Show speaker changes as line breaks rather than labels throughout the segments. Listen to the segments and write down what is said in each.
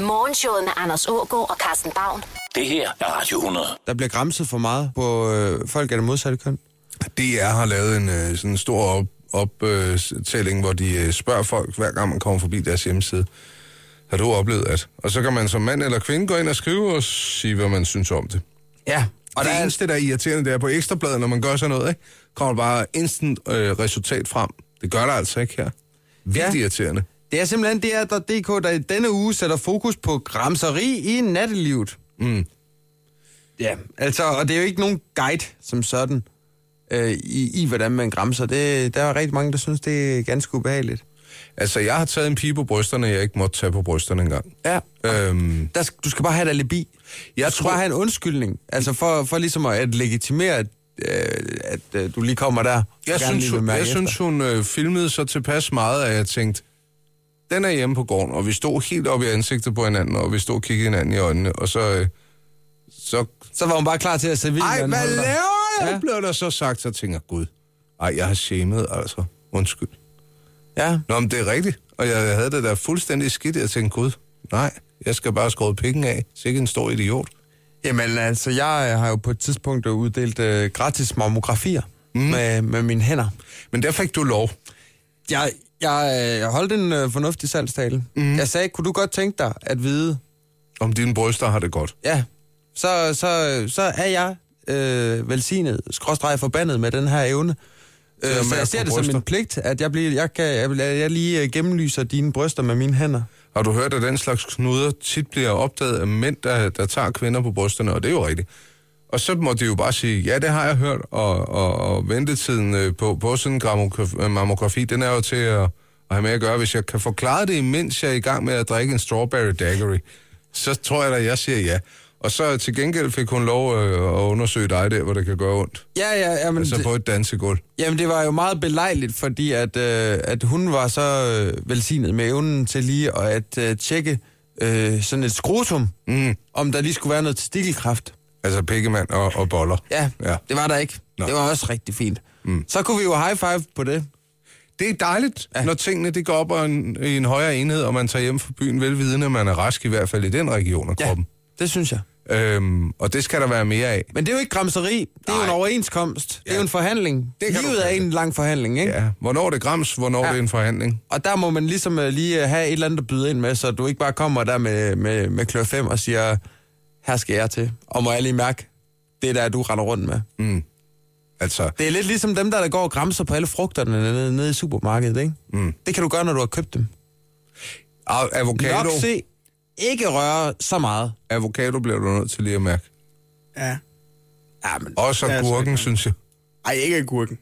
Morgenshowet med Anders Ågaard og Carsten Baum.
Det her er Radio 100.
Der bliver græmset for meget på øh, folk af det modsatte køn.
DR har lavet en øh, sådan en stor op, optælling, hvor de øh, spørger folk, hver gang man kommer forbi deres hjemmeside, har du oplevet at... Og så kan man som mand eller kvinde gå ind og skrive og sige, hvad man synes om det.
Ja,
Og det
altså-
eneste, der er irriterende, det er på ekstrabladet, når man gør sådan noget, ikke? kommer der bare instant øh, resultat frem. Det gør der altså ikke her. Vildt
Ja.
ja. irriterende.
Det er simpelthen DR.dk, der i denne uge sætter fokus på gramseri i nattelivet. Mm. Ja, altså, og det er jo ikke nogen guide som sådan øh, i, i, hvordan man gramser. Det, der er rigtig mange, der synes, det er ganske ubehageligt.
Altså, jeg har taget en pige på brysterne, jeg ikke måtte tage på brysterne engang.
Ja.
Øhm,
Øh, Der, sk- du skal bare have et alibi. Jeg
Jeg
du skal
tror-
bare have en undskyldning. Altså for, for ligesom at, at legitimere, at, øh, at øh, du lige kommer der.
jeg,
Gerne
synes,
lige vil
hun,
mærke
jeg
efter.
synes, hun øh, filmede så tilpas meget, at jeg tænkte, den er hjemme på gården, og vi stod helt op i ansigtet på hinanden, og vi stod og kiggede hinanden i øjnene, og så... Øh, så
Så var hun bare klar til at servere.
ej,
en
hvad
håndholder.
laver jeg?
Ja.
Ja. blev der så sagt, så tænker jeg, gud, ej, jeg har shamed, altså. Undskyld.
Ja.
Nå, men det er rigtigt. Og jeg havde det der fuldstændig skidt. Jeg tænkte, gud, nej, jeg skal bare skrue pikken af. Sikke en stor idiot.
Jamen altså, jeg øh, har jo på et tidspunkt øh, uddelt øh, gratis mammografier mm. med, med mine hænder.
Men der fik du lov.
Jeg, jeg, øh, jeg holdt en øh, fornuftig salgstale. Mm. Jeg sagde, kunne du godt tænke dig at vide,
Om dine bryster har det godt.
ja, så, så, så er jeg øh, velsignet, skråstreg forbandet med den her evne. Øh,
Så
så
man
jeg
er
ser
på
det som
bryster.
en pligt, at jeg, bliver, jeg, kan, jeg, jeg lige øh, gennemlyser dine bryster med mine hænder.
Har du hørt, at den slags knuder tit bliver opdaget af mænd, der, der tager kvinder på brysterne? Og det er jo rigtigt. Og så må de jo bare sige, ja, det har jeg hørt, og, og, og ventetiden øh, på, på sådan en grammografi- øh, mammografi, den er jo til at, at have med at gøre. Hvis jeg kan forklare det, imens jeg er i gang med at drikke en strawberry daiquiri, så tror jeg da, jeg siger ja. Og så til gengæld fik hun lov øh, at undersøge dig der, hvor det kan gøre ondt.
Ja, ja, ja, men
Altså
det,
på et dansegulv.
Jamen, det var jo meget belejligt, fordi at, øh, at hun var så øh, velsignet med evnen til lige at, at øh, tjekke øh, sådan et skrotum, mm. om der lige skulle være noget testikelkræft.
Altså pikkemand og, og boller.
Ja, ja,
ja.
det var der ikke. Nå.
Nå.
Det var også rigtig fint. Mm. Så kunne vi jo high five på det.
Det er dejligt, ja. når tingene det går op og en, i en højere enhed, og man tager hjem fra byen velvidende, at man er rask i hvert fald i den region af
Ja,
kroppen.
det synes jeg.
Ja. Øhm, og det skal der være mere af.
Men det er jo ikke gramseri. Det er jo en overenskomst. Ja. Det er jo en forhandling.
Det kan du
Livet er
kalde
en lang forhandling, ikke? Ja.
Ja, hvornår er det grams, hvornår ja. det er en forhandling.
Og der må man ligesom øh, lige øh, have et eller andet at byde ind med, så du ikke bare kommer der med, med, med klør 5 og siger, her skal jeg til. Og må jeg lige mærke, det der du render rundt med.
Altså,
Det er lidt ligesom dem, der, der går og græmser på alle frugterne nede, nede i supermarkedet, ikke? Mm. Det kan du gøre, når du har købt dem.
a- avocado,
Nok se, ikke røre så meget.
avocado bliver du nødt til lige at mærke.
Ja.
Ja, men,
Også
Ja, så
agurken,
kan-
synes jeg.
Ej, ikke agurken.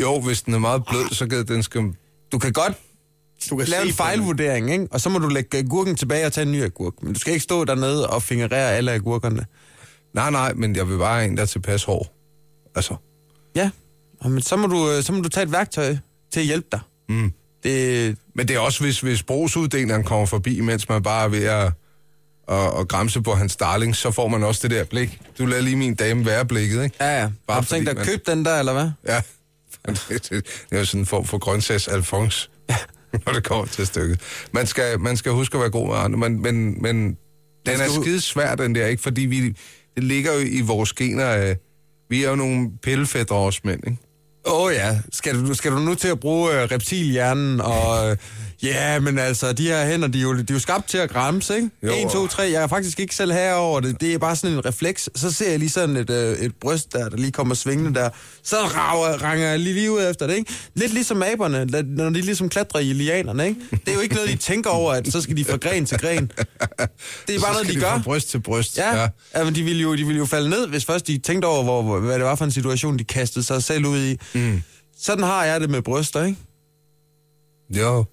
Jo, hvis den er meget blød, så kan den skal...
du kan godt
Du kan
lave
se
en fejlvurdering, ikke? Og så må du lægge agurken tilbage og tage en ny agurk. Men du skal ikke stå dernede og fingerere alle agurkerne.
Nej, nej, men jeg vil bare have en, der er tilpas hård. Altså,
Ja, og men så må, du, øh, så må du tage et værktøj til at hjælpe dig. Mm. Det,
Men det er også, hvis, hvis brugsuddeleren kommer forbi, mens man bare er ved at, at, at græmse på hans darling, så får man også det der blik. Du lader lige min dame være blikket, ikke?
ja, ja. Bare
Bare
har du
fordi
tænkt dig at
man-
købe den der, eller hvad?
Ja. Det, det, det er jo sådan en form for grøntsags alfons, når det kommer til stykket. Man skal, man skal huske at være god med andre, men, men, men den er
skal hu-
skide svær, den der, ikke? Fordi vi, det ligger jo i vores gener. Øh, vi er jo nogle pillefædre også mænd, ikke?
Åh oh, ja, skal du, skal du nu til at bruge øh, reptilhjernen og... Øh, ja, men altså, de her hænder, de er jo, de er jo skabt til at græmse, ikke?
Jo.
1, 2, 3, jeg er faktisk ikke selv herover det. Det er bare sådan en refleks. Så ser jeg lige sådan et, øh, et bryst der, der lige kommer svingende der. Så rager, ranger jeg lige, lige ud efter det, ikke? Lidt ligesom aberne, la- når de ligesom klatrer i lianerne, ikke? Det er jo ikke noget, de tænker over, at så skal de fra gren til gren. Det er bare noget, de gør.
Fra bryst til bryst.
Ja, ja. ja men de ville, jo, de ville jo falde ned, hvis først de tænkte over, hvor, hvor- hvad det var for en situation, de kastede sig selv ud i. Mm. Sådan har jeg det med bryster, ikke?
Jo.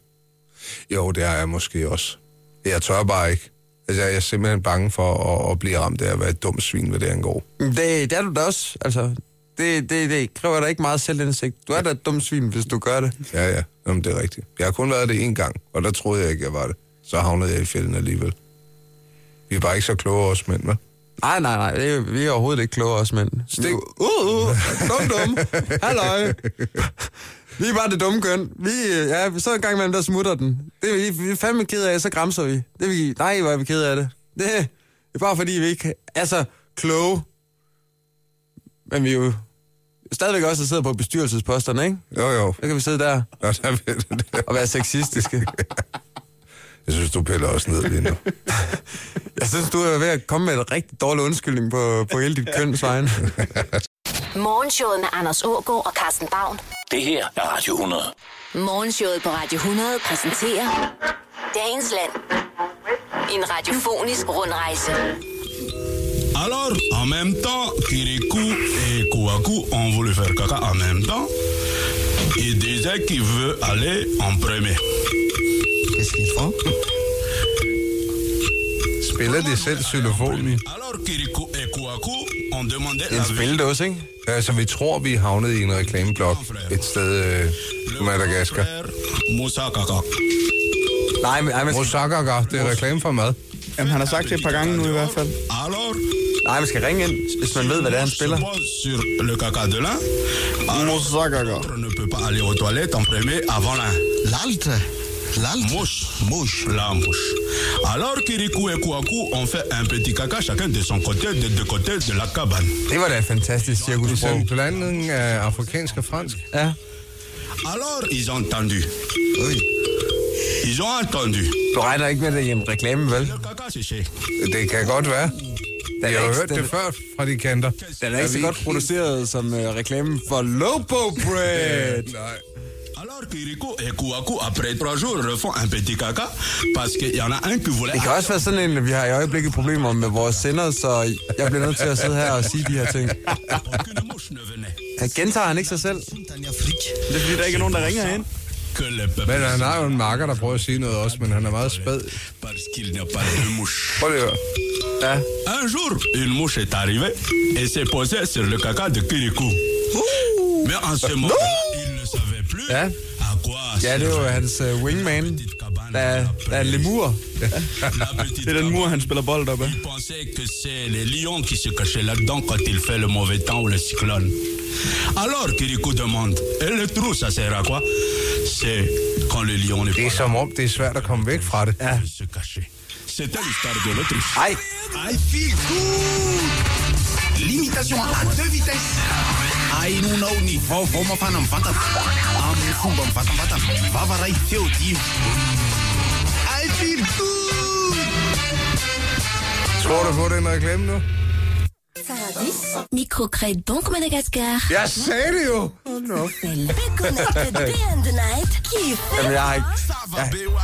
Jo, det er jeg måske også. Jeg tør bare ikke. Altså, jeg er simpelthen bange for at, at blive ramt af at være et dumt svin, hvad det angår.
Men Det, det er du da også, altså. Det, det, det kræver da ikke meget selvindsigt. Du er da et dumt svin, hvis du gør det.
Ja, ja. Jamen, det er rigtigt. Jeg har kun været det én gang, og der troede jeg ikke, jeg var det. Så havnede jeg i fælden alligevel. Vi er bare ikke så kloge os mænd, hva'?
Nej, nej, nej, det er, vi er uh, overhovedet ikke klogere os, men... Stik. Uh, uh, dum, dum. Halløj. Vi er bare det dumme køn. Vi, øh, ja, så en gang imellem, der smutter den. Det er vi, vi er fandme ked af, så græmser vi. Det er vi, nej, hvor er vi ked af det. Det er bare fordi, vi ikke er så kloge. Men vi er jo stadigvæk også sidder på bestyrelsesposterne, ikke?
Jo, jo.
Så kan vi sidde der
Nå, der ved du det.
og være sexistiske.
Jeg synes, du piller også ned lige nu.
Jeg synes, du er ved at komme med en rigtig dårlig undskyldning på, på hele dit køns vegne.
Morgenshowet med Anders Ågaard og Carsten Baum.
Det her er Radio 100.
Morgenshowet på Radio 100 præsenterer Dagens Land. En radiofonisk rundrejse.
Alors, en même temps, Kirikou et Kouakou, on voulu faire caca en même temps. Il disait qu'il veut aller en premier.
Qu'est-ce qu'ils font
Spiller de selv xylofonen?
Alors, Kirikou et Kouakou, on demandait
En
l'avis.
spildåse, ikke?
Altså, vi tror, vi er havnet i en reklameblok et sted øh, i Madagaskar.
frère Moussa Kaka.
Nej, men, nej, man, skal,
Rosakaka, det er reklame for mad.
Jamen, han har sagt det er et par gange nu i hvert fald.
Alors,
nej, man skal ringe ind, hvis man ved, hvad det er, han
on
spiller.
se pose sur le caca de l'un. Alors,
Moussa Kaka.
l'autre ne peut pas aller aux toilettes en premier avant l'un.
L'altre L'altre
Mouche, mouche, la mouche. Alors Kirikou et Kouakou ont fait un petit caca chacun de son côté, de deux côtés de la cabane.
Det var da et fantastisk
Det er
cirkus.
sådan en blanding af afrikansk og fransk.
Ja.
Alors ils ont entendu.
Oui.
Ils ont entendu.
Du regner ikke med, at det er en reklame, vel?
Le caca séché.
Det kan godt være.
Den
Jeg
er
har
ikke-
hørt
den-
det før fra de kanter.
Den er ikke så
vi-
godt produceret som øh, reklamen for Lobo Bread.
Nej.
Alors Kirikou et Kouakou, après trois jours, refont un petit caca parce qu'il y en a un qui voulait...
Det kan også være sådan en, at vi har i øjeblikket problemer med vores sender, så jeg bliver nødt til at sidde her og sige de her ting.
Aucune mouche ne venait.
Han gentager han ikke sig selv?
Tanja Fritsch.
Det er fordi, der ikke er nogen, der ringer ind.
Que le peuple...
Men han har jo en marker, der prøver at sige noget også, men han er meget spæd.
Parce qu'il n'y a pas de mouche. Hein?
Prøv lige at høre.
Un jour, une mouche est arrivée et s'est posée sur le caca de Kirikou. Mais en ce moment, il ne savait plus
Hein?
à quoi
Ja, det var hans øh, wingman, der, er- der er en lemur.
la petite
Det er den mur, han spiller bold op af.
Il pensait que c'est les lions qui se cachaient là-dedans quand il fait le mauvais temps ou le cyclone. Alors Kirikou demande, et le trou, ça sert à quoi C'est quand le lion n'est
Det er
pas là
som om, det er svært at komme væk fra det.
Ah.
de se cacher. C'était l'histoire de l'Autriche.
Ej,
I feel good. Limitation à deux vitesses. I nu know ny vaovaoma fanamvatana amin'ny fomba mivatambantana vava ray feo dimy I feel good.
Tror du på, det er en reklame nu?
Microcredit Banque Madagascar.
Jeg sagde det jo!
Connected day and night. Kiffe.
jamen jeg har ikke,
Ça va, Bewa.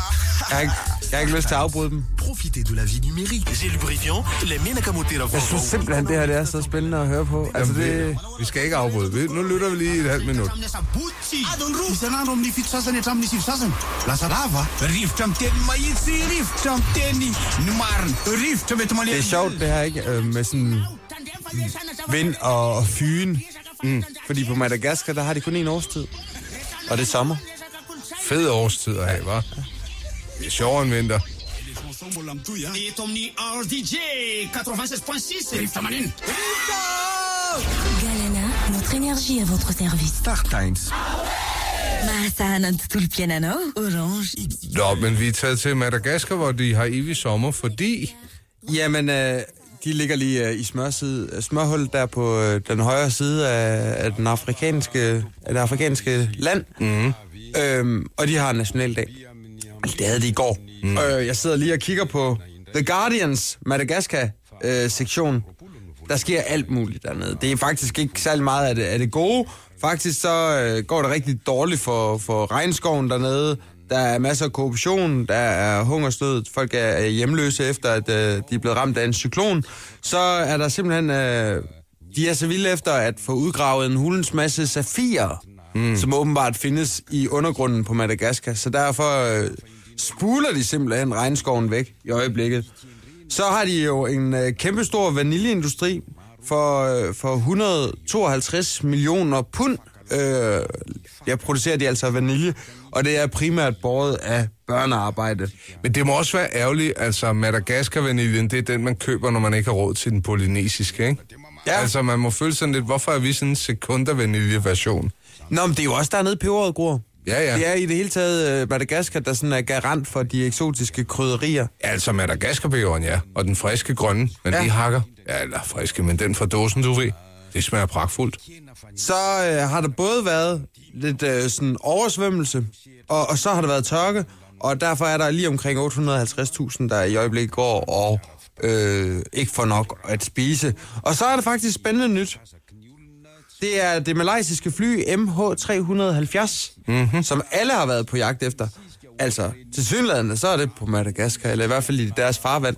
jeg har ikke, jeg har ikke lyst til at afbryde dem.
Profitez de la vie numérique. J'ai lubrifiant, les Ménakamotera
Jeg synes simpelthen, det her det er så spændende at høre på. Altså det...
Vi skal ikke afbryde. Vi- Nu lytter vi lige et halvt minut.
isan'andro amin'ny fito sasany hatramin'ny sivy sasany lasa lava rivotra amin'ny teny mahitsy rivotra amin'ny teny ny marina rivotra mety
Det
malemy
er sjovt det her, ikke? Øh, med sådan vind og og fyen. Mm. Fordi på Madagaskar, der har de kun en årstid. Og det er sommer.
Fed årstid at have, hva'? Det er sjovere end vinter.
eto amin'ny rdj 96.6 rivotra maneny
Galena, notre énergie à votre service. Mahasana Pianano, Orange.
Nå, men vi er taget til Madagaskar, hvor de har evig sommer, fordi...
Jamen, øh, de ligger lige øh, i smørside, smørhul der på øh, den højre side af, af, den afrikanske, af det afrikanske land. Mm. Øhm, og de har en nationaldag. Altså, det havde de i går. Mm. Øh, jeg sidder lige og kigger på The Guardians Madagaskar-sektion. der sker alt muligt dernede. Det er faktisk ikke særlig meget af det, af det gode. Faktisk så øh, går det rigtig dårligt for, for regnskoven dernede. Der er masser af korruption, der er hungerstød, folk er er hjemløse efter, at øh, de er blevet ramt af en cyklon. Så er der simpelthen... Øh, de er så vilde efter at få udgravet en hulens masse safirer, mm. som åbenbart findes i undergrunden på Madagaskar. Så derfor øh, spuler de simpelthen regnskoven væk i øjeblikket. Så har de jo en øh, kæmpestor vaniljeindustri for, øh, for 152 millioner pund. Øh, jeg producerer de altså vanilje, og det er primært båret af børnearbejde.
Men det må også være ærgerligt, altså Madagaskar-vaniljen, det er den, man køber, når man ikke har råd til den polynesiske, ikke?
Ja.
Altså, man må føle sådan lidt, hvorfor er vi sådan en sekundervenlig version?
Nå, men det er jo også dernede, peberet gror.
Ja, ja.
Det er i det hele taget øh, Madagaskar, der sådan er garant for de eksotiske krydderier.
Altså Madagaskarbeveren, ja. Og den friske grønne, men
Ja.
ja. de hakker. Ja, eller friske, men den fra dåsen, du ved. Det smager pragtfuldt.
Så øh, har der både været lidt øh, sådan oversvømmelse, og, og så har der været tørke, og derfor er der lige omkring 850.000, der i øjeblikket går og øh, ikke får nok at spise. Og så er der faktisk spændende nyt. Det er det malaysiske fly MH370, mm-hmm. som alle har været på jagt efter. Altså, til synlædende, så er det på Madagaskar, eller i hvert fald i deres farvand.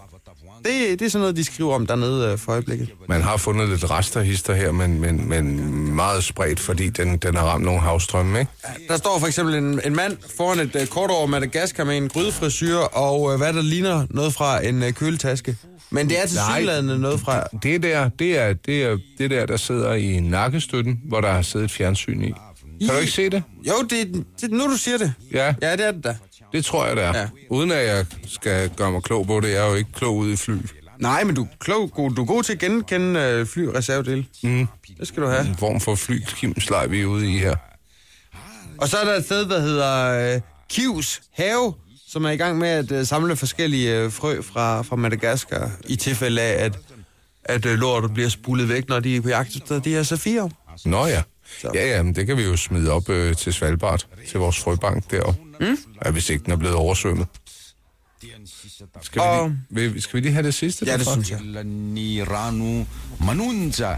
Det, det er sådan noget, de skriver om dernede øh, for øjeblikket.
Man har fundet lidt rester hister her, men, men, men meget spredt, fordi den, den har ramt nogle havstrømme, ikke?
Der står for eksempel en, en mand foran et uh, kort over Madagaskar med en grydefrisyr og uh, hvad der ligner noget fra en uh, køletaske. Men det er til
Nej.
synlædende noget fra...
Det der, det er, det er det der, der sidder i nakkestøtten, hvor der har siddet et fjernsyn i. Kan du ikke se det?
Jo, det, det nu du siger det.
Ja.
Ja, det er det da.
Det tror jeg, det er.
Ja.
Ja. Uden at jeg skal gøre mig klog på det, jeg er jo ikke klog ude i fly.
Nej, men du er, klog, god, du er god til at genkende uh, flyreservedele. Mm. Det skal du have.
En form for flykimslej, vi er ude i her.
Og så er der et sted, der hedder uh, Kivs Have, som er i gang med at uh, samle forskellige uh, frø fra, fra Madagaskar, i tilfælde af, at, at uh, lortet bliver spulet væk, når de er på jagt efter de her safirer.
Nå ja. Ja, ja, men det kan vi jo smide op øh, til Svalbard, til vores frøbank deroppe. Mm? Ja, hvis ikke den er blevet oversvømmet. Skal vi,
Og-
lige, vil- skal vi lige have det sidste?
Ja, det
derfra?
synes jeg.
Ni rano manonja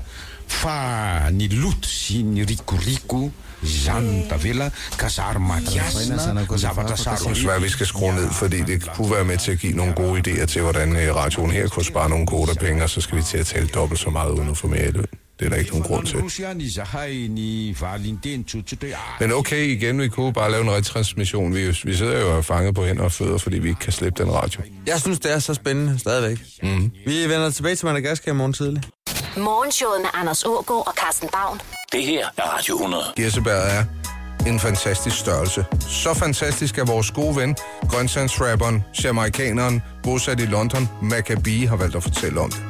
fa ny loto sy ny rikoriko zany ny tavela ka sary matiasina zavatra
Jeg synes, at vi skal skrue ned, fordi det kunne være med til at give nogle gode idéer til, hvordan øh, radioen her kunne spare nogle gode penge, og så skal vi til at tale dobbelt så meget uden at få mere i løn. Det er der ikke nogen grund til.
sarosany zahay ny valinteny tsotsotra hoe "Ah,
Men okay, igen, vi kunne bare lave en retransmission. Vi, vi sidder jo og er fanget på hænder og fødder, fordi vi ikke kan slippe den radio.
Jeg synes, det er så spændende stadigvæk. Mm. Vi vender tilbage til Madagaskar i morgen tidlig.
Morgenshowet med Anders Ågaard og Carsten Baum.
Det her er Radio 100.
Kirsebæret er en fantastisk størrelse. Så fantastisk er vores gode ven, grøntsagsrapperen, jamaikaneren, bosat i London, Maccabee, har valgt at fortælle om det.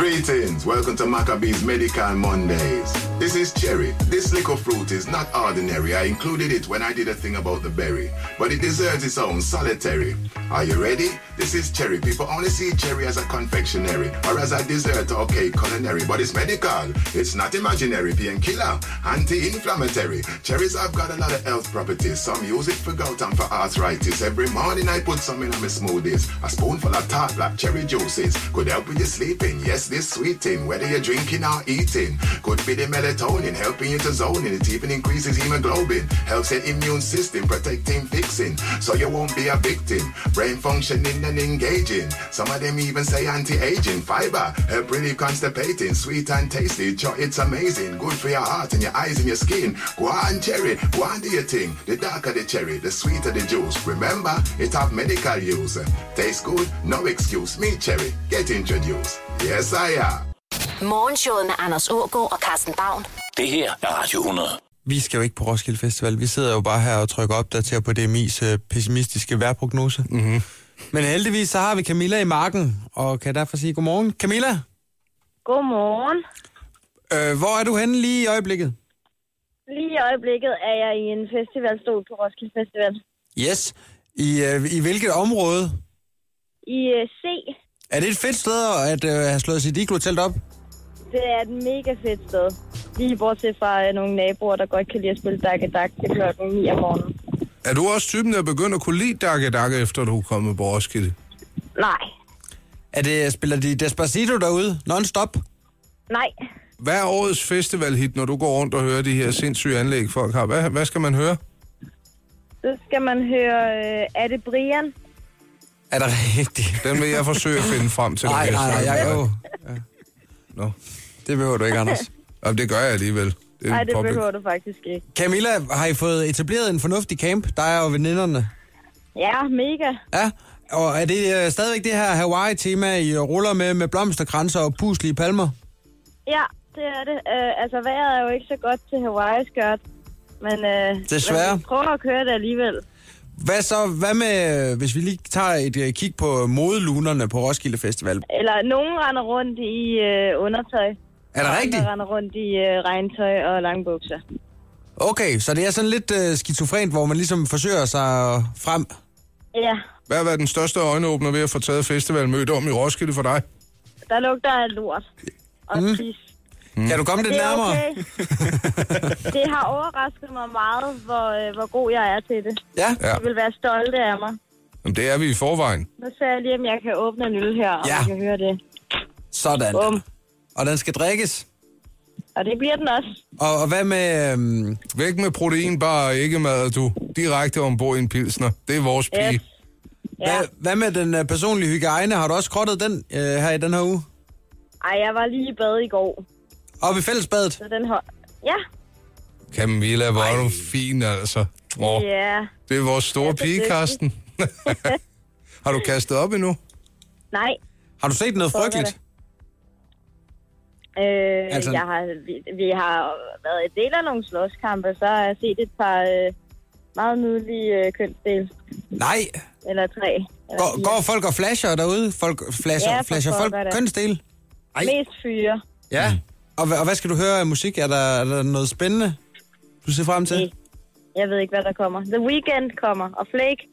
Greetings, welcome to Maccabees Medical Mondays. This is cherry. This little fruit is not ordinary. I included it when I did a thing about the berry, but it deserves its own solitary. Are you ready? This is cherry. People only see cherry as a confectionery or as a dessert or cake culinary, but it's medical. It's not imaginary, painkiller, anti-inflammatory. Cherries have got a lot of health properties. Some use it for gout and for arthritis. Every morning I put some in my smoothies. A spoonful of tart black cherry juices could help with your sleeping. Yes, this sweet thing, whether you're drinking or eating, could be the melatonin helping you to zone in. It even increases hemoglobin, helps your immune system, protecting, fixing, so you won't be a victim. Brain functioning and engaging. Some of them even say anti-aging, fiber, help relieve constipating, sweet and tasty. Cho- It's amazing, good for your heart and your eyes and your skin. Go on, cherry, go on do your thing. The darker the cherry, the sweeter the juice. Remember, it have medical use. Tastes good, no excuse. Me, cherry, get introduced. Yes, I am.
Morgenshowet med Anders Ågaard og Carsten Baum.
Det her er Radio 100.
Vi skal jo ikke på Roskilde Festival. Vi sidder jo bare her og trykker opdater på DMI's øh, pessimistiske vejrprognose. Mm-hmm. Men heldigvis så har vi Camilla i marken, og kan derfor sige godmorgen. Camilla,
Godmorgen.
øh, hvor er du henne lige i øjeblikket?
Lige i øjeblikket er jeg i en festivalstol på Roskilde Festival.
Yes. I, øh, I hvilket område?
I øh, C,
Er det et fedt sted at øh, have slået sit iglo-telt op?
det er et mega fedt sted. Lige bortset fra øh, nogle naboer, der godt kan lide at spille dak dak til klokken 9 om morgenen.
Er du også typen, der begynder at kunne lide Dakke Dakke, efter du er kommet på Roskilde?
Nej,
Er det, spiller de Despacito derude non-stop?
nej.
Hvad er årets festivalhit, når du går rundt og hører de her sindssyge anlæg, folk har? Hvad, hvad skal man høre?
Så skal man høre, øh, er det Brian?
Er det rigtigt?
Den vil jeg forsøge at finde frem til. når
Nej,
vi har
nej,
snakket
nej, jeg
med
er jo...
dig. Nå.
Det behøver du ikke, Anders.
Jamen, det gør jeg alligevel. Det er
Nej,
en
det
public-
behøver du faktisk ikke.
Camilla, har I fået etableret en fornuftig camp? Der er jo veninderne.
Ja, mega.
Ja, og er det øh, stadigvæk det her Hawaii-tema, I ruller med, med blomsterkranser og puslige palmer?
Ja, det er det. Øh, altså, vejret er jo ikke så godt til Hawaii-skørt. Men, øh,
Desværre.
Men vi prøver at køre det alligevel.
Hvad så, hvad med, øh, hvis vi lige tager et øh, kig på modelunerne på Roskilde Festival?
Eller nogen render rundt i øh, undertøj.
Er det
Og
rigtigt?
andre render rundt i øh, regntøj og lange bukser.
Okay, så det er sådan lidt øh, skizofrent, hvor man ligesom forsøger sig frem.
Ja,
Hvad har været den største øjenåbner ved at få taget festivalmødet om i Roskilde for dig?
der lugter af lort. Og mm. pis.
Mm. Kan du komme lidt
Det er
nærmere?
Okay. det har overrasket mig meget, hvor, øh, hvor god jeg er til det.
Ja.
Ja.
Jeg vil være stolte af mig.
Jamen, det er vi i forvejen.
Nu ser jeg lige, om jeg kan åbne en øl her, og
Ja.
ja. kan høre det.
Sådan. Um. Og den skal drikkes.
Og det bliver den også.
Og, og hvad med... Øhm...
Væk med protein, bare ikke mad, du. Direkte ombord i en pilsner. Det er vores pige.
Yes.
Ja. Hvad, hvad med den øh, personlige hygiejne? Har du også krottet den øh, her i den her uge?
Ej, jeg var lige i bad i går,
Oppe i fællesbadet?
så den hold... Ja,
Camilla, hvor er du fin, altså. Oh,
ja.
Det er vores store
så
pige,
dygtig.
Karsten. har du kastet op endnu?
Nej.
Har du set noget
Prøver
frygteligt?
Øh,
Altså-
altså... jeg har, vi, vi har været en del af nogle slåskampe, så har jeg set et par øh, meget nydelige øh, kønsdel.
Nej.
Eller tre. Eller
Går,
fire.
går folk og flasher derude? Folk flasher,
Ja,
ja,
for
flasher folk
pokker da.
kønsdel? Ej.
Mest fyre.
Ja. Mm. Og, hva- og hvad skal du høre af musik? Er der, er der noget spændende, du ser frem til?
Mm. Jeg ved ikke, hvad der kommer. The Weekend kommer, og Flake.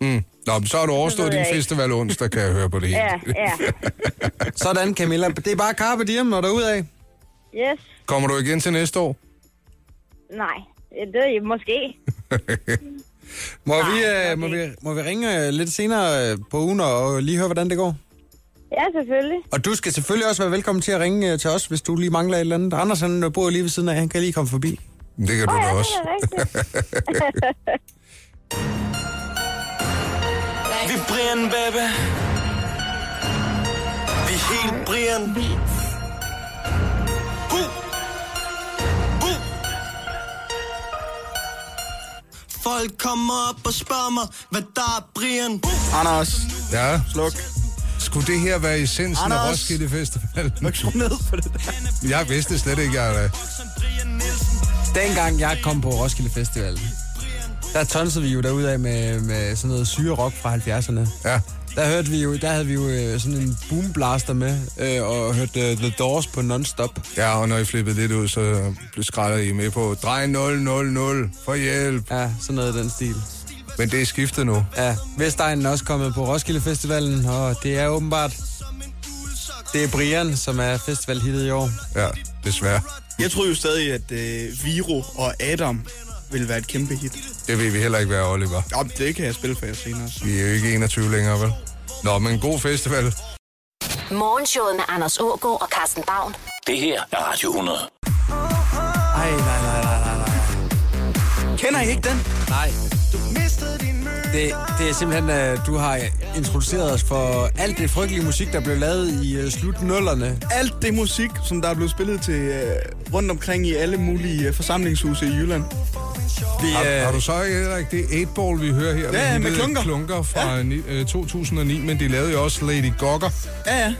Mm. Nå, men så har du overstået
ved
din
jeg ikke.
festival onsdag, kan jeg høre på det hele.
Ja, ja.
Sådan, Camilla. Det er bare Carpe Diem og derudad.
Yes.
Kommer du igen til næste år?
Nej. Det er måske.
Må, vi, øh, må, vi, må vi ringe øh, lidt senere øh, på ugen og og lige høre, hvordan det går?
Ja, selvfølgelig.
Og du skal selvfølgelig også være velkommen til at ringe øh, til os, hvis du lige mangler et eller andet. Anders han øh, bor lige ved siden af, han kan lige komme forbi.
Det kan du
Åh,
da
ja, det
også.
er rigtigt.
Vi er Brian, baby. Vi er helt Brian. Uh. Uh.
Folk kommer op og spørger mig, hvad der er, Brian.
Anders,
Ja.
sluk.
Skulle det her være essensen af
Anders!
Roskilde Festival?
Sluk ned for det der.
Jeg vidste slet ikke, jeg...
Dengang jeg kom på Roskilde Festival, der tonsede vi jo derudad med, med sådan noget syre rock fra 70'erne.
Ja.
Der, hørte vi jo, der havde vi jo øh, sådan en boomblaster med, øh, og hørte øh, The Doors på non-stop.
Ja, og når I flippede lidt ud, så blev skrællet I med på drej 000 for hjælp.
Ja, sådan noget i den stil.
Men det er skiftet nu.
Ja, Vestegnen er også kommet på Roskilde Festivalen, og det er åbenbart... Det er Brian, som er festivalhittet i år.
Ja, desværre.
Jeg troede jo stadig, at øh, Viro og Adam ville være et kæmpe hit.
Det ved vi heller ikke, hvad er, Oliver.
Nå, men det kan jeg spille for jer senere. Så.
Vi er jo ikke 21 længere, vel? Nå, men god festival.
Morgenshowet med Anders Ågaard og Carsten Baum.
Det her er Radio 100.
Ej, nej, nej, nej, nej, nej.
Kender I ikke den?
Nej. Det, det er simpelthen, øh, du har introduceret os for alt det frygtelige musik, der blev lavet i øh, slutnullerne.
Alt det musik, som der er blevet spillet til øh, rundt omkring i alle mulige øh, forsamlingshuse i Jylland.
Vi,
Har, har
øh,
du så ikke heller ikke det 8-ball, vi hører her?
Ja, med
hitet
klunker.
klunker fra ja. ni, øh, 2009, men de lavede jo også Lady Gogger.
Ja, ja.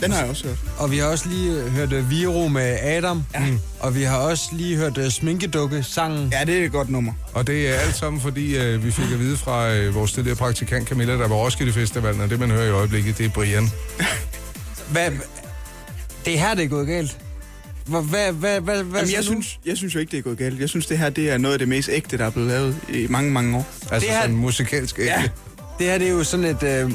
Den har jeg også hørt.
og vi har også lige øh, hørt øh, Viro med Adam. Ja. Og vi har også lige hørt øh, Sminkedukke-sangen.
Ja, det er et godt nummer.
Og det er alt sammen, fordi øh, vi fik at vide fra øh, vores tidligere praktikant Camilla, der var Roskilde Festivalen, og det, man hører i øjeblikket, det er Brian. Altså
Hvad, det er her, det er gået galt. Hvad, hvad, hvad, hvad, hvad
Jamen, jeg,
siger du?
synes, jeg synes jo ikke, det er gået galt. Jeg synes, det her det er noget af det mest ægte, der er blevet lavet i mange, mange år.
Altså
Det her-
sådan musikalsk ægte. Ja.
Det her det er jo sådan et... Øh,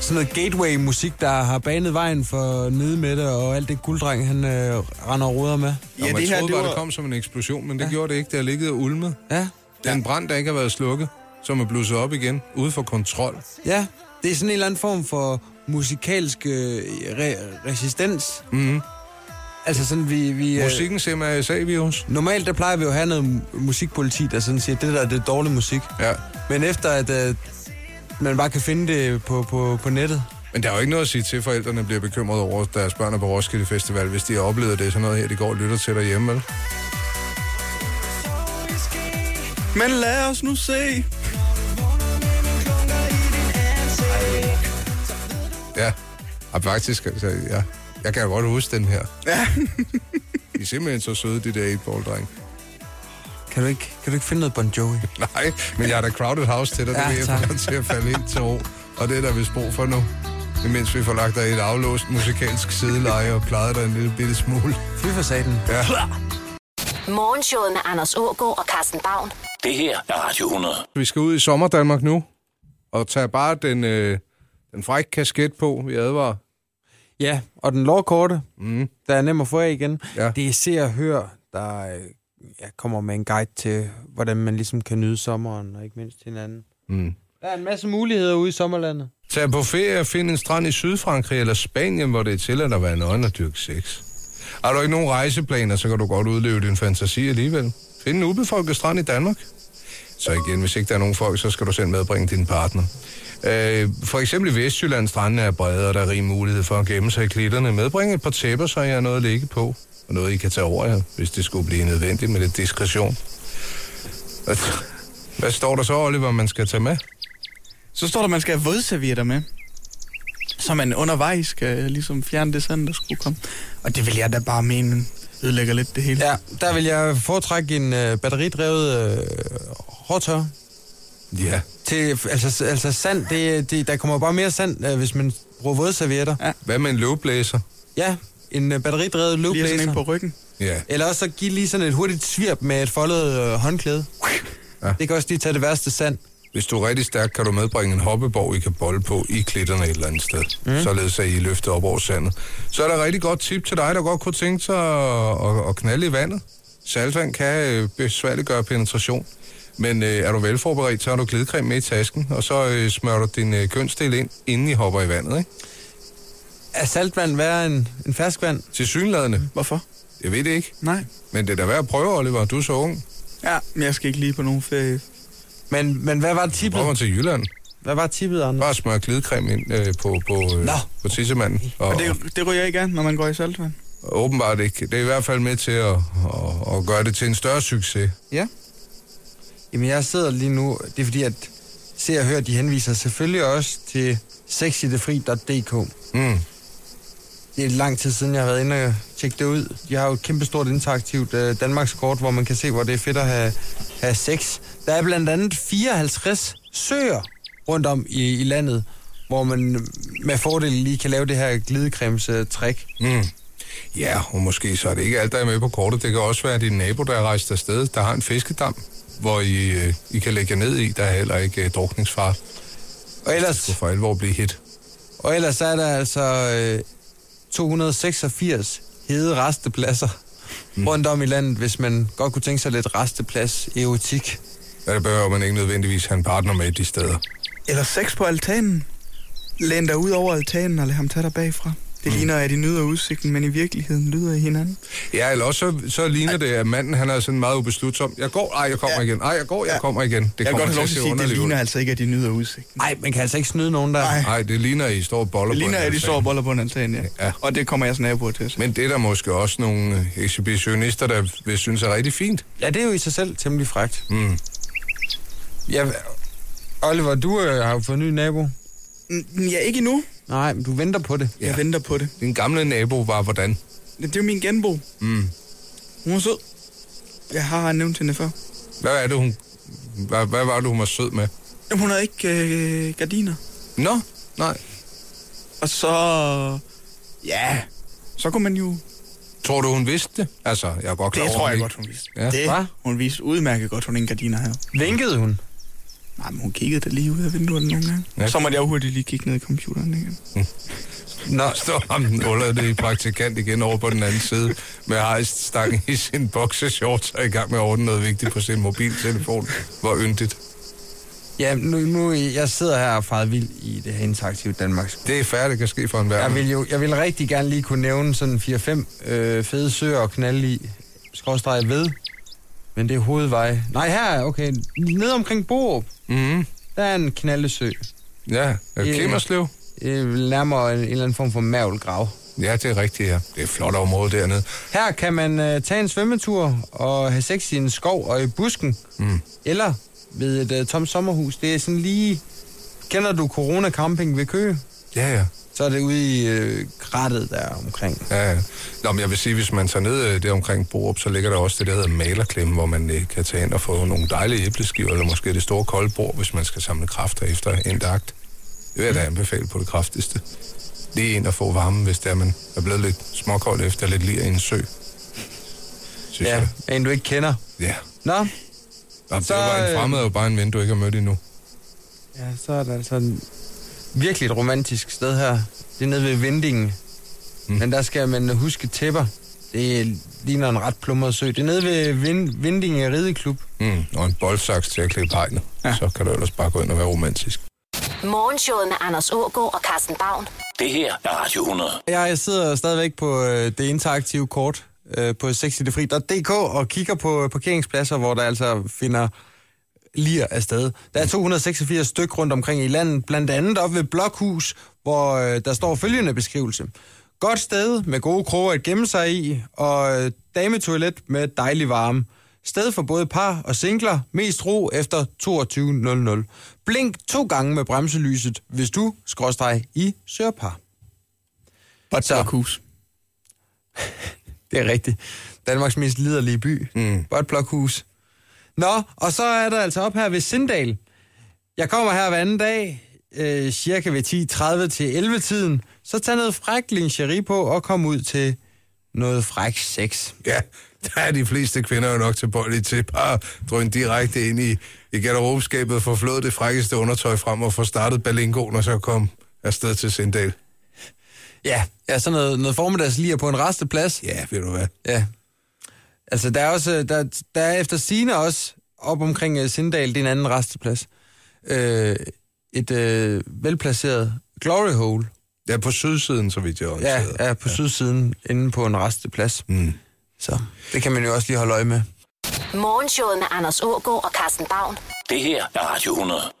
sådan noget gateway-musik, der har banet vejen for nede med det, og alt det gulddreng, han øh, render og ruder med.
Ja, det her, troede bare, det kom som en eksplosion, men det ja. gjorde det ikke. Det har ligget og ulmet.
Ja,
Den brand, der ikke har været slukket, som er blusset op igen, ude for kontrol.
ja. Det er sådan en eller anden form for musikalsk øh, re- resistens.
Mm-hmm.
Altså sådan, vi... vi øh,
Musikkens MRSA-virus.
Normalt, der plejer vi jo at have noget mu- musikpoliti, der sådan siger, det der det er dårlig musik.
Ja.
Men efter at øh, man bare kan finde det på, på, på nettet.
Men der er jo ikke noget at sige til, at forældrene bliver bekymrede over at deres børn er på Roskilde Festival, hvis de har oplevet det sådan noget her, de går og lytter til derhjemme, vel?
Men lad os nu se.
Ja. Og faktisk, altså, ja. jeg kan jo godt huske den her.
Ja.
De er simpelthen så søde, de der 8 dreng
Kan du ikke, kan du ikke finde noget Bon Jovi?
Nej, men jeg har da Crowded House til dig, det
Ja,
vil jeg
tak.
få dig til at falde ind til ro. Og det er der vist brug for nu. imens vi får lagt dig i et aflåst musikalsk sideleje og klaret dig en lille bitte smule. Fy for satan. Ja.
Morgenshowet med Anders Ågaard og Carsten Baum.
Det her er Radio 100.
Vi skal ud i sommer Danmark nu, og tage bare den, øh, den frække kasket på, vi advarer.
Ja, og den lovkorte, mm. der er nem at få af igen, ja. det er Se og Hør, der øh, ja, kommer med en guide til, hvordan man ligesom kan nyde sommeren, og ikke mindst hinanden.
Mm.
Der er en masse muligheder ude i sommerlandet.
Tag på ferie og find en strand i Sydfrankrig eller Spanien, hvor det er tilladt at være nøgen og dyrke sex. Har du ikke nogen rejseplaner, så kan du godt udleve din fantasi alligevel. Find en ubefolket strand i Danmark. Så igen, hvis ikke der er nogen folk, så skal du selv medbringe din partner. Øh, for eksempel i Vestjylland, strandene er brede, og der er rig mulighed for at gemme sig i klitterne. Medbring et par tæpper, så jeg har noget at ligge på, og noget, I kan tage over jer, hvis det skulle blive nødvendigt med lidt diskretion. Hvad, hvad står der så, Oliver, man skal tage med?
Så står der, at man skal have vådservietter med. Så man undervejs skal ligesom fjerne det sand, der skulle komme. Og det vil jeg da bare mene ødelægger lidt det hele.
Ja, der vil jeg foretrække en øh, batteridrevet øh, hårdtør.
Ja.
Til, altså, altså sand, det, det, der kommer bare mere sand, øh, hvis man bruger vådservietter. Ja.
Hvad med en løvblæser?
Ja, en øh, batteridrevet løbblæser.
Lige sådan en på ryggen.
Ja.
Eller også så give lige sådan et hurtigt svirp med et foldet øh, håndklæde. Ja. Det kan også lige tage det værste sand.
Hvis du er rigtig stærk, kan du medbringe en hoppeborg, I kan bolle på i klitterne et eller andet sted. Mm. Således at I er løftet op over sandet. Så er der et rigtig godt tip til dig, der godt kunne tænke sig at, at, at knalde i vandet. Saltvand kan øh, besværliggøre penetration. Men øh, er du velforberedt, så har du glidecreme med i tasken, og så øh, smører du din øh, kønsdel ind, inden I hopper i vandet, ikke?
Er saltvand værre end, end ferskvand?
Til synladende.
Hvorfor?
Jeg ved det ikke,
Nej.
men det er da værd at prøve, Oliver. Du er så ung.
Ja, men jeg skal ikke lige på nogen ferie.
Men, men hvad var
Du kommer
tippet?
til Jylland.
Hvad var tippet, Anders?
Bare smør glidecreme ind øh, på, på, øh,
Nå.
på tissemanden. Og,
Og det, det ryger ikke an, når man går i saltvand.
og åbenbart ikke. Det er i hvert fald med til at, at, at gøre det til en større succes.
Ja.
Jamen, jeg sidder lige nu, det er fordi, at Se og Hør, de henviser selvfølgelig også til sexidefri.dk.
Mm.
Det er lang tid siden, jeg har været inde og tjekke det ud. De har jo et kæmpestort interaktivt øh, Danmarkskort, hvor man kan se, hvor det er fedt at have, have sex. Der er blandt andet 54 søer rundt om i, i landet, hvor man med fordel lige kan lave det her øh, glidecremes-trick.
Mm. Ja, og måske så er det ikke alt, der er med på kortet. Det kan også være din nabo, der er rejst afsted, der har en fiskedam, hvor I, øh, I kan lægge jer ned i. Der er heller ikke øh, drukningsfar.
Og ellers...
Du for alvor blive hit.
Og ellers er der altså øh, 286 hede restepladser mm. rundt om i landet, hvis man godt kunne tænke sig lidt resteplads, erotik.
Ja, der behøver man ikke nødvendigvis have en partner med de steder.
Eller sex på altanen. Læn dig ud over altanen og lad ham tage dig bagfra.
Mm.
Det ligner, at I nyder udsigten, men i virkeligheden lyder I hinanden.
Ja, eller også så, så ligner det, at manden han er sådan meget ubeslutsom. Jeg går, ej, jeg kommer ja. igen. Ej, jeg går, jeg ja. kommer igen. Det
Jeg kan
kommer
godt have lov til at sige, det ligner altså ikke, at I nyder udsigten.
Nej, man kan altså ikke snyde nogen der.
Nej.
Nej, det ligner, at I står og boller
Det ligner,
på en
at I
altan.
står og boller på en altan, ja.
Ja.
Og det kommer jeres naboer til at se.
Men det er der måske også nogle øh, ekshibitionister, der vil synes er rigtig fint.
Ja, det er jo i sig selv temmelig frægt.
Mm.
Ja, Oliver, du øh, har jo fået en ny nabo.
Men... Ja, mm, ikke endnu.
Nej, men du venter på det.
Jeg venter på det.
Din gamle nabo var hvordan?
Det er jo min genbo. Mm. Hun er sød. Jeg har nævnt hende før.
Hvad er det, hun... Hvad, hvad var det, hun var sød med?
Jamen, hun havde ikke øh, gardiner.
Nå, nej.
Og så... Ja, så kunne man jo...
Tror du, hun vidste det? Altså, jeg er godt klar
Det
over,
tror
hun
jeg
ikke-
godt, hun vidste.
Ja.
Det,
Hva?
hun vidste udmærket godt, hun ingen gardiner havde.
Vinkede hun?
Nej, men hun kiggede da lige ud af vinduerne nogle gange.
Ja.
Ja. Så måtte jeg jo hurtigt lige kigge ned i computeren igen.
Nå, står ham den underlige praktikant igen over på den anden side med hejststangen i sin boxershorts og er i gang med at ordne noget vigtigt på sin mobiltelefon. Hvor yndigt.
Ja, nu, nu jeg sidder her og faret vild i det her interaktive Danmarks.
Det er færdigt, kan ske for en
Jeg
verden.
vil jo jeg vil rigtig gerne lige kunne nævne sådan 4-5 øh, fede søer at knalde i, skovstreget ved, men det er hovedvej. Nej, her, er- okay, nede omkring Borup,
Mm-hmm.
der er en knaldesø.
Ja, er det
Ja.
Kimmerslev?
Øh, nærmere en, en eller anden form for mavlgrav.
Ja, det er rigtigt, ja. Det er et flot område dernede.
Her kan man øh, tage en svømmetur og have sex i en skov og i busken,
Mm.
eller ved et øh, tomt sommerhus. Det er sådan lige... Kender du Corona Camping ved Køge?
Ja, ja.
Så er det ude i øh, krattet der omkring.
Ja, ja. Nå, men jeg vil sige, hvis man tager ned øh, der omkring Borup, så ligger der også det, der hedder malerklemme, hvor man øh, kan tage ind og få nogle dejlige æbleskiver, eller måske det store kolde bord, hvis man skal samle kræfter efter en agt. vil jeg da anbefale på det kraftigste. Lige ind og få varme, hvis der man er blevet lidt småkold efter lidt lir i en sø. Synes ja,
jeg. en du ikke kender.
Ja.
Nå,
Og
Så,
det var en
øh,
fremmed og bare en ven, du ikke har mødt endnu.
ja, så er der altså en, virkelig et romantisk sted her. Det er nede ved Vindingen. Mm. Men der skal man huske tæpper. Det ligner en ret plumret sø. Det er nede ved Vind, Vindingen Rideklub.
Mm, og en boldsaks til at klippe hegnet. Ja. Så kan du ellers bare gå ind og være romantisk.
Morgenshowet med Anders Ågaard og Carsten Baum.
Det her er Radio 100.
Jeg, jeg sidder stadigvæk på øh, det interaktive kort øh, på sexidefri.dk og kigger på øh, parkeringspladser, hvor der altså finder lir afsted. Der er 286 styk rundt omkring i landet, blandt andet op ved Blokhus, hvor øh, der står følgende beskrivelse. Godt sted med gode kroge at gemme sig i, og øh, dametoilet med dejlig varme. Sted for både par og singler, mest ro efter 22.00. Blink to gange med bremselyset, hvis du, skråstreg, i sørpar.
Godt blokhus.
Det er rigtigt. Danmarks mest liderlige by. Mm. Godt blokhus. Nå, og så er der altså op her ved Sindal. Jeg kommer her hver anden dag, øh, cirka ved 10.30 til 11-tiden. Så tag noget fræk lingerie på og kom ud til noget fræk sex.
Ja, der er de fleste kvinder jo nok tilbøjelige til bare at drøne direkte ind i, i garderobeskabet, få flået det frækkeste undertøj frem og få startet balingoen og så komme afsted til Sindal.
Ja, ja sådan noget, noget formiddags lige på en resteplads.
Ja, ved du hvad.
Ja. Altså, der er også, øh, der, der er efter sine også op omkring uh, Sindal, det er en anden resteplads. Øh, et øh, velplaceret glory hole.
Ja, på sydsiden, så vidt jeg er
Ja,
orienteret.
ja på ja. sydsiden, inde på en resteplads.
Mm.
Så det kan man jo også lige holde øje med.
Morgenshowet med Anders Ågaard og Carsten Baum.
Det her er Radio 100.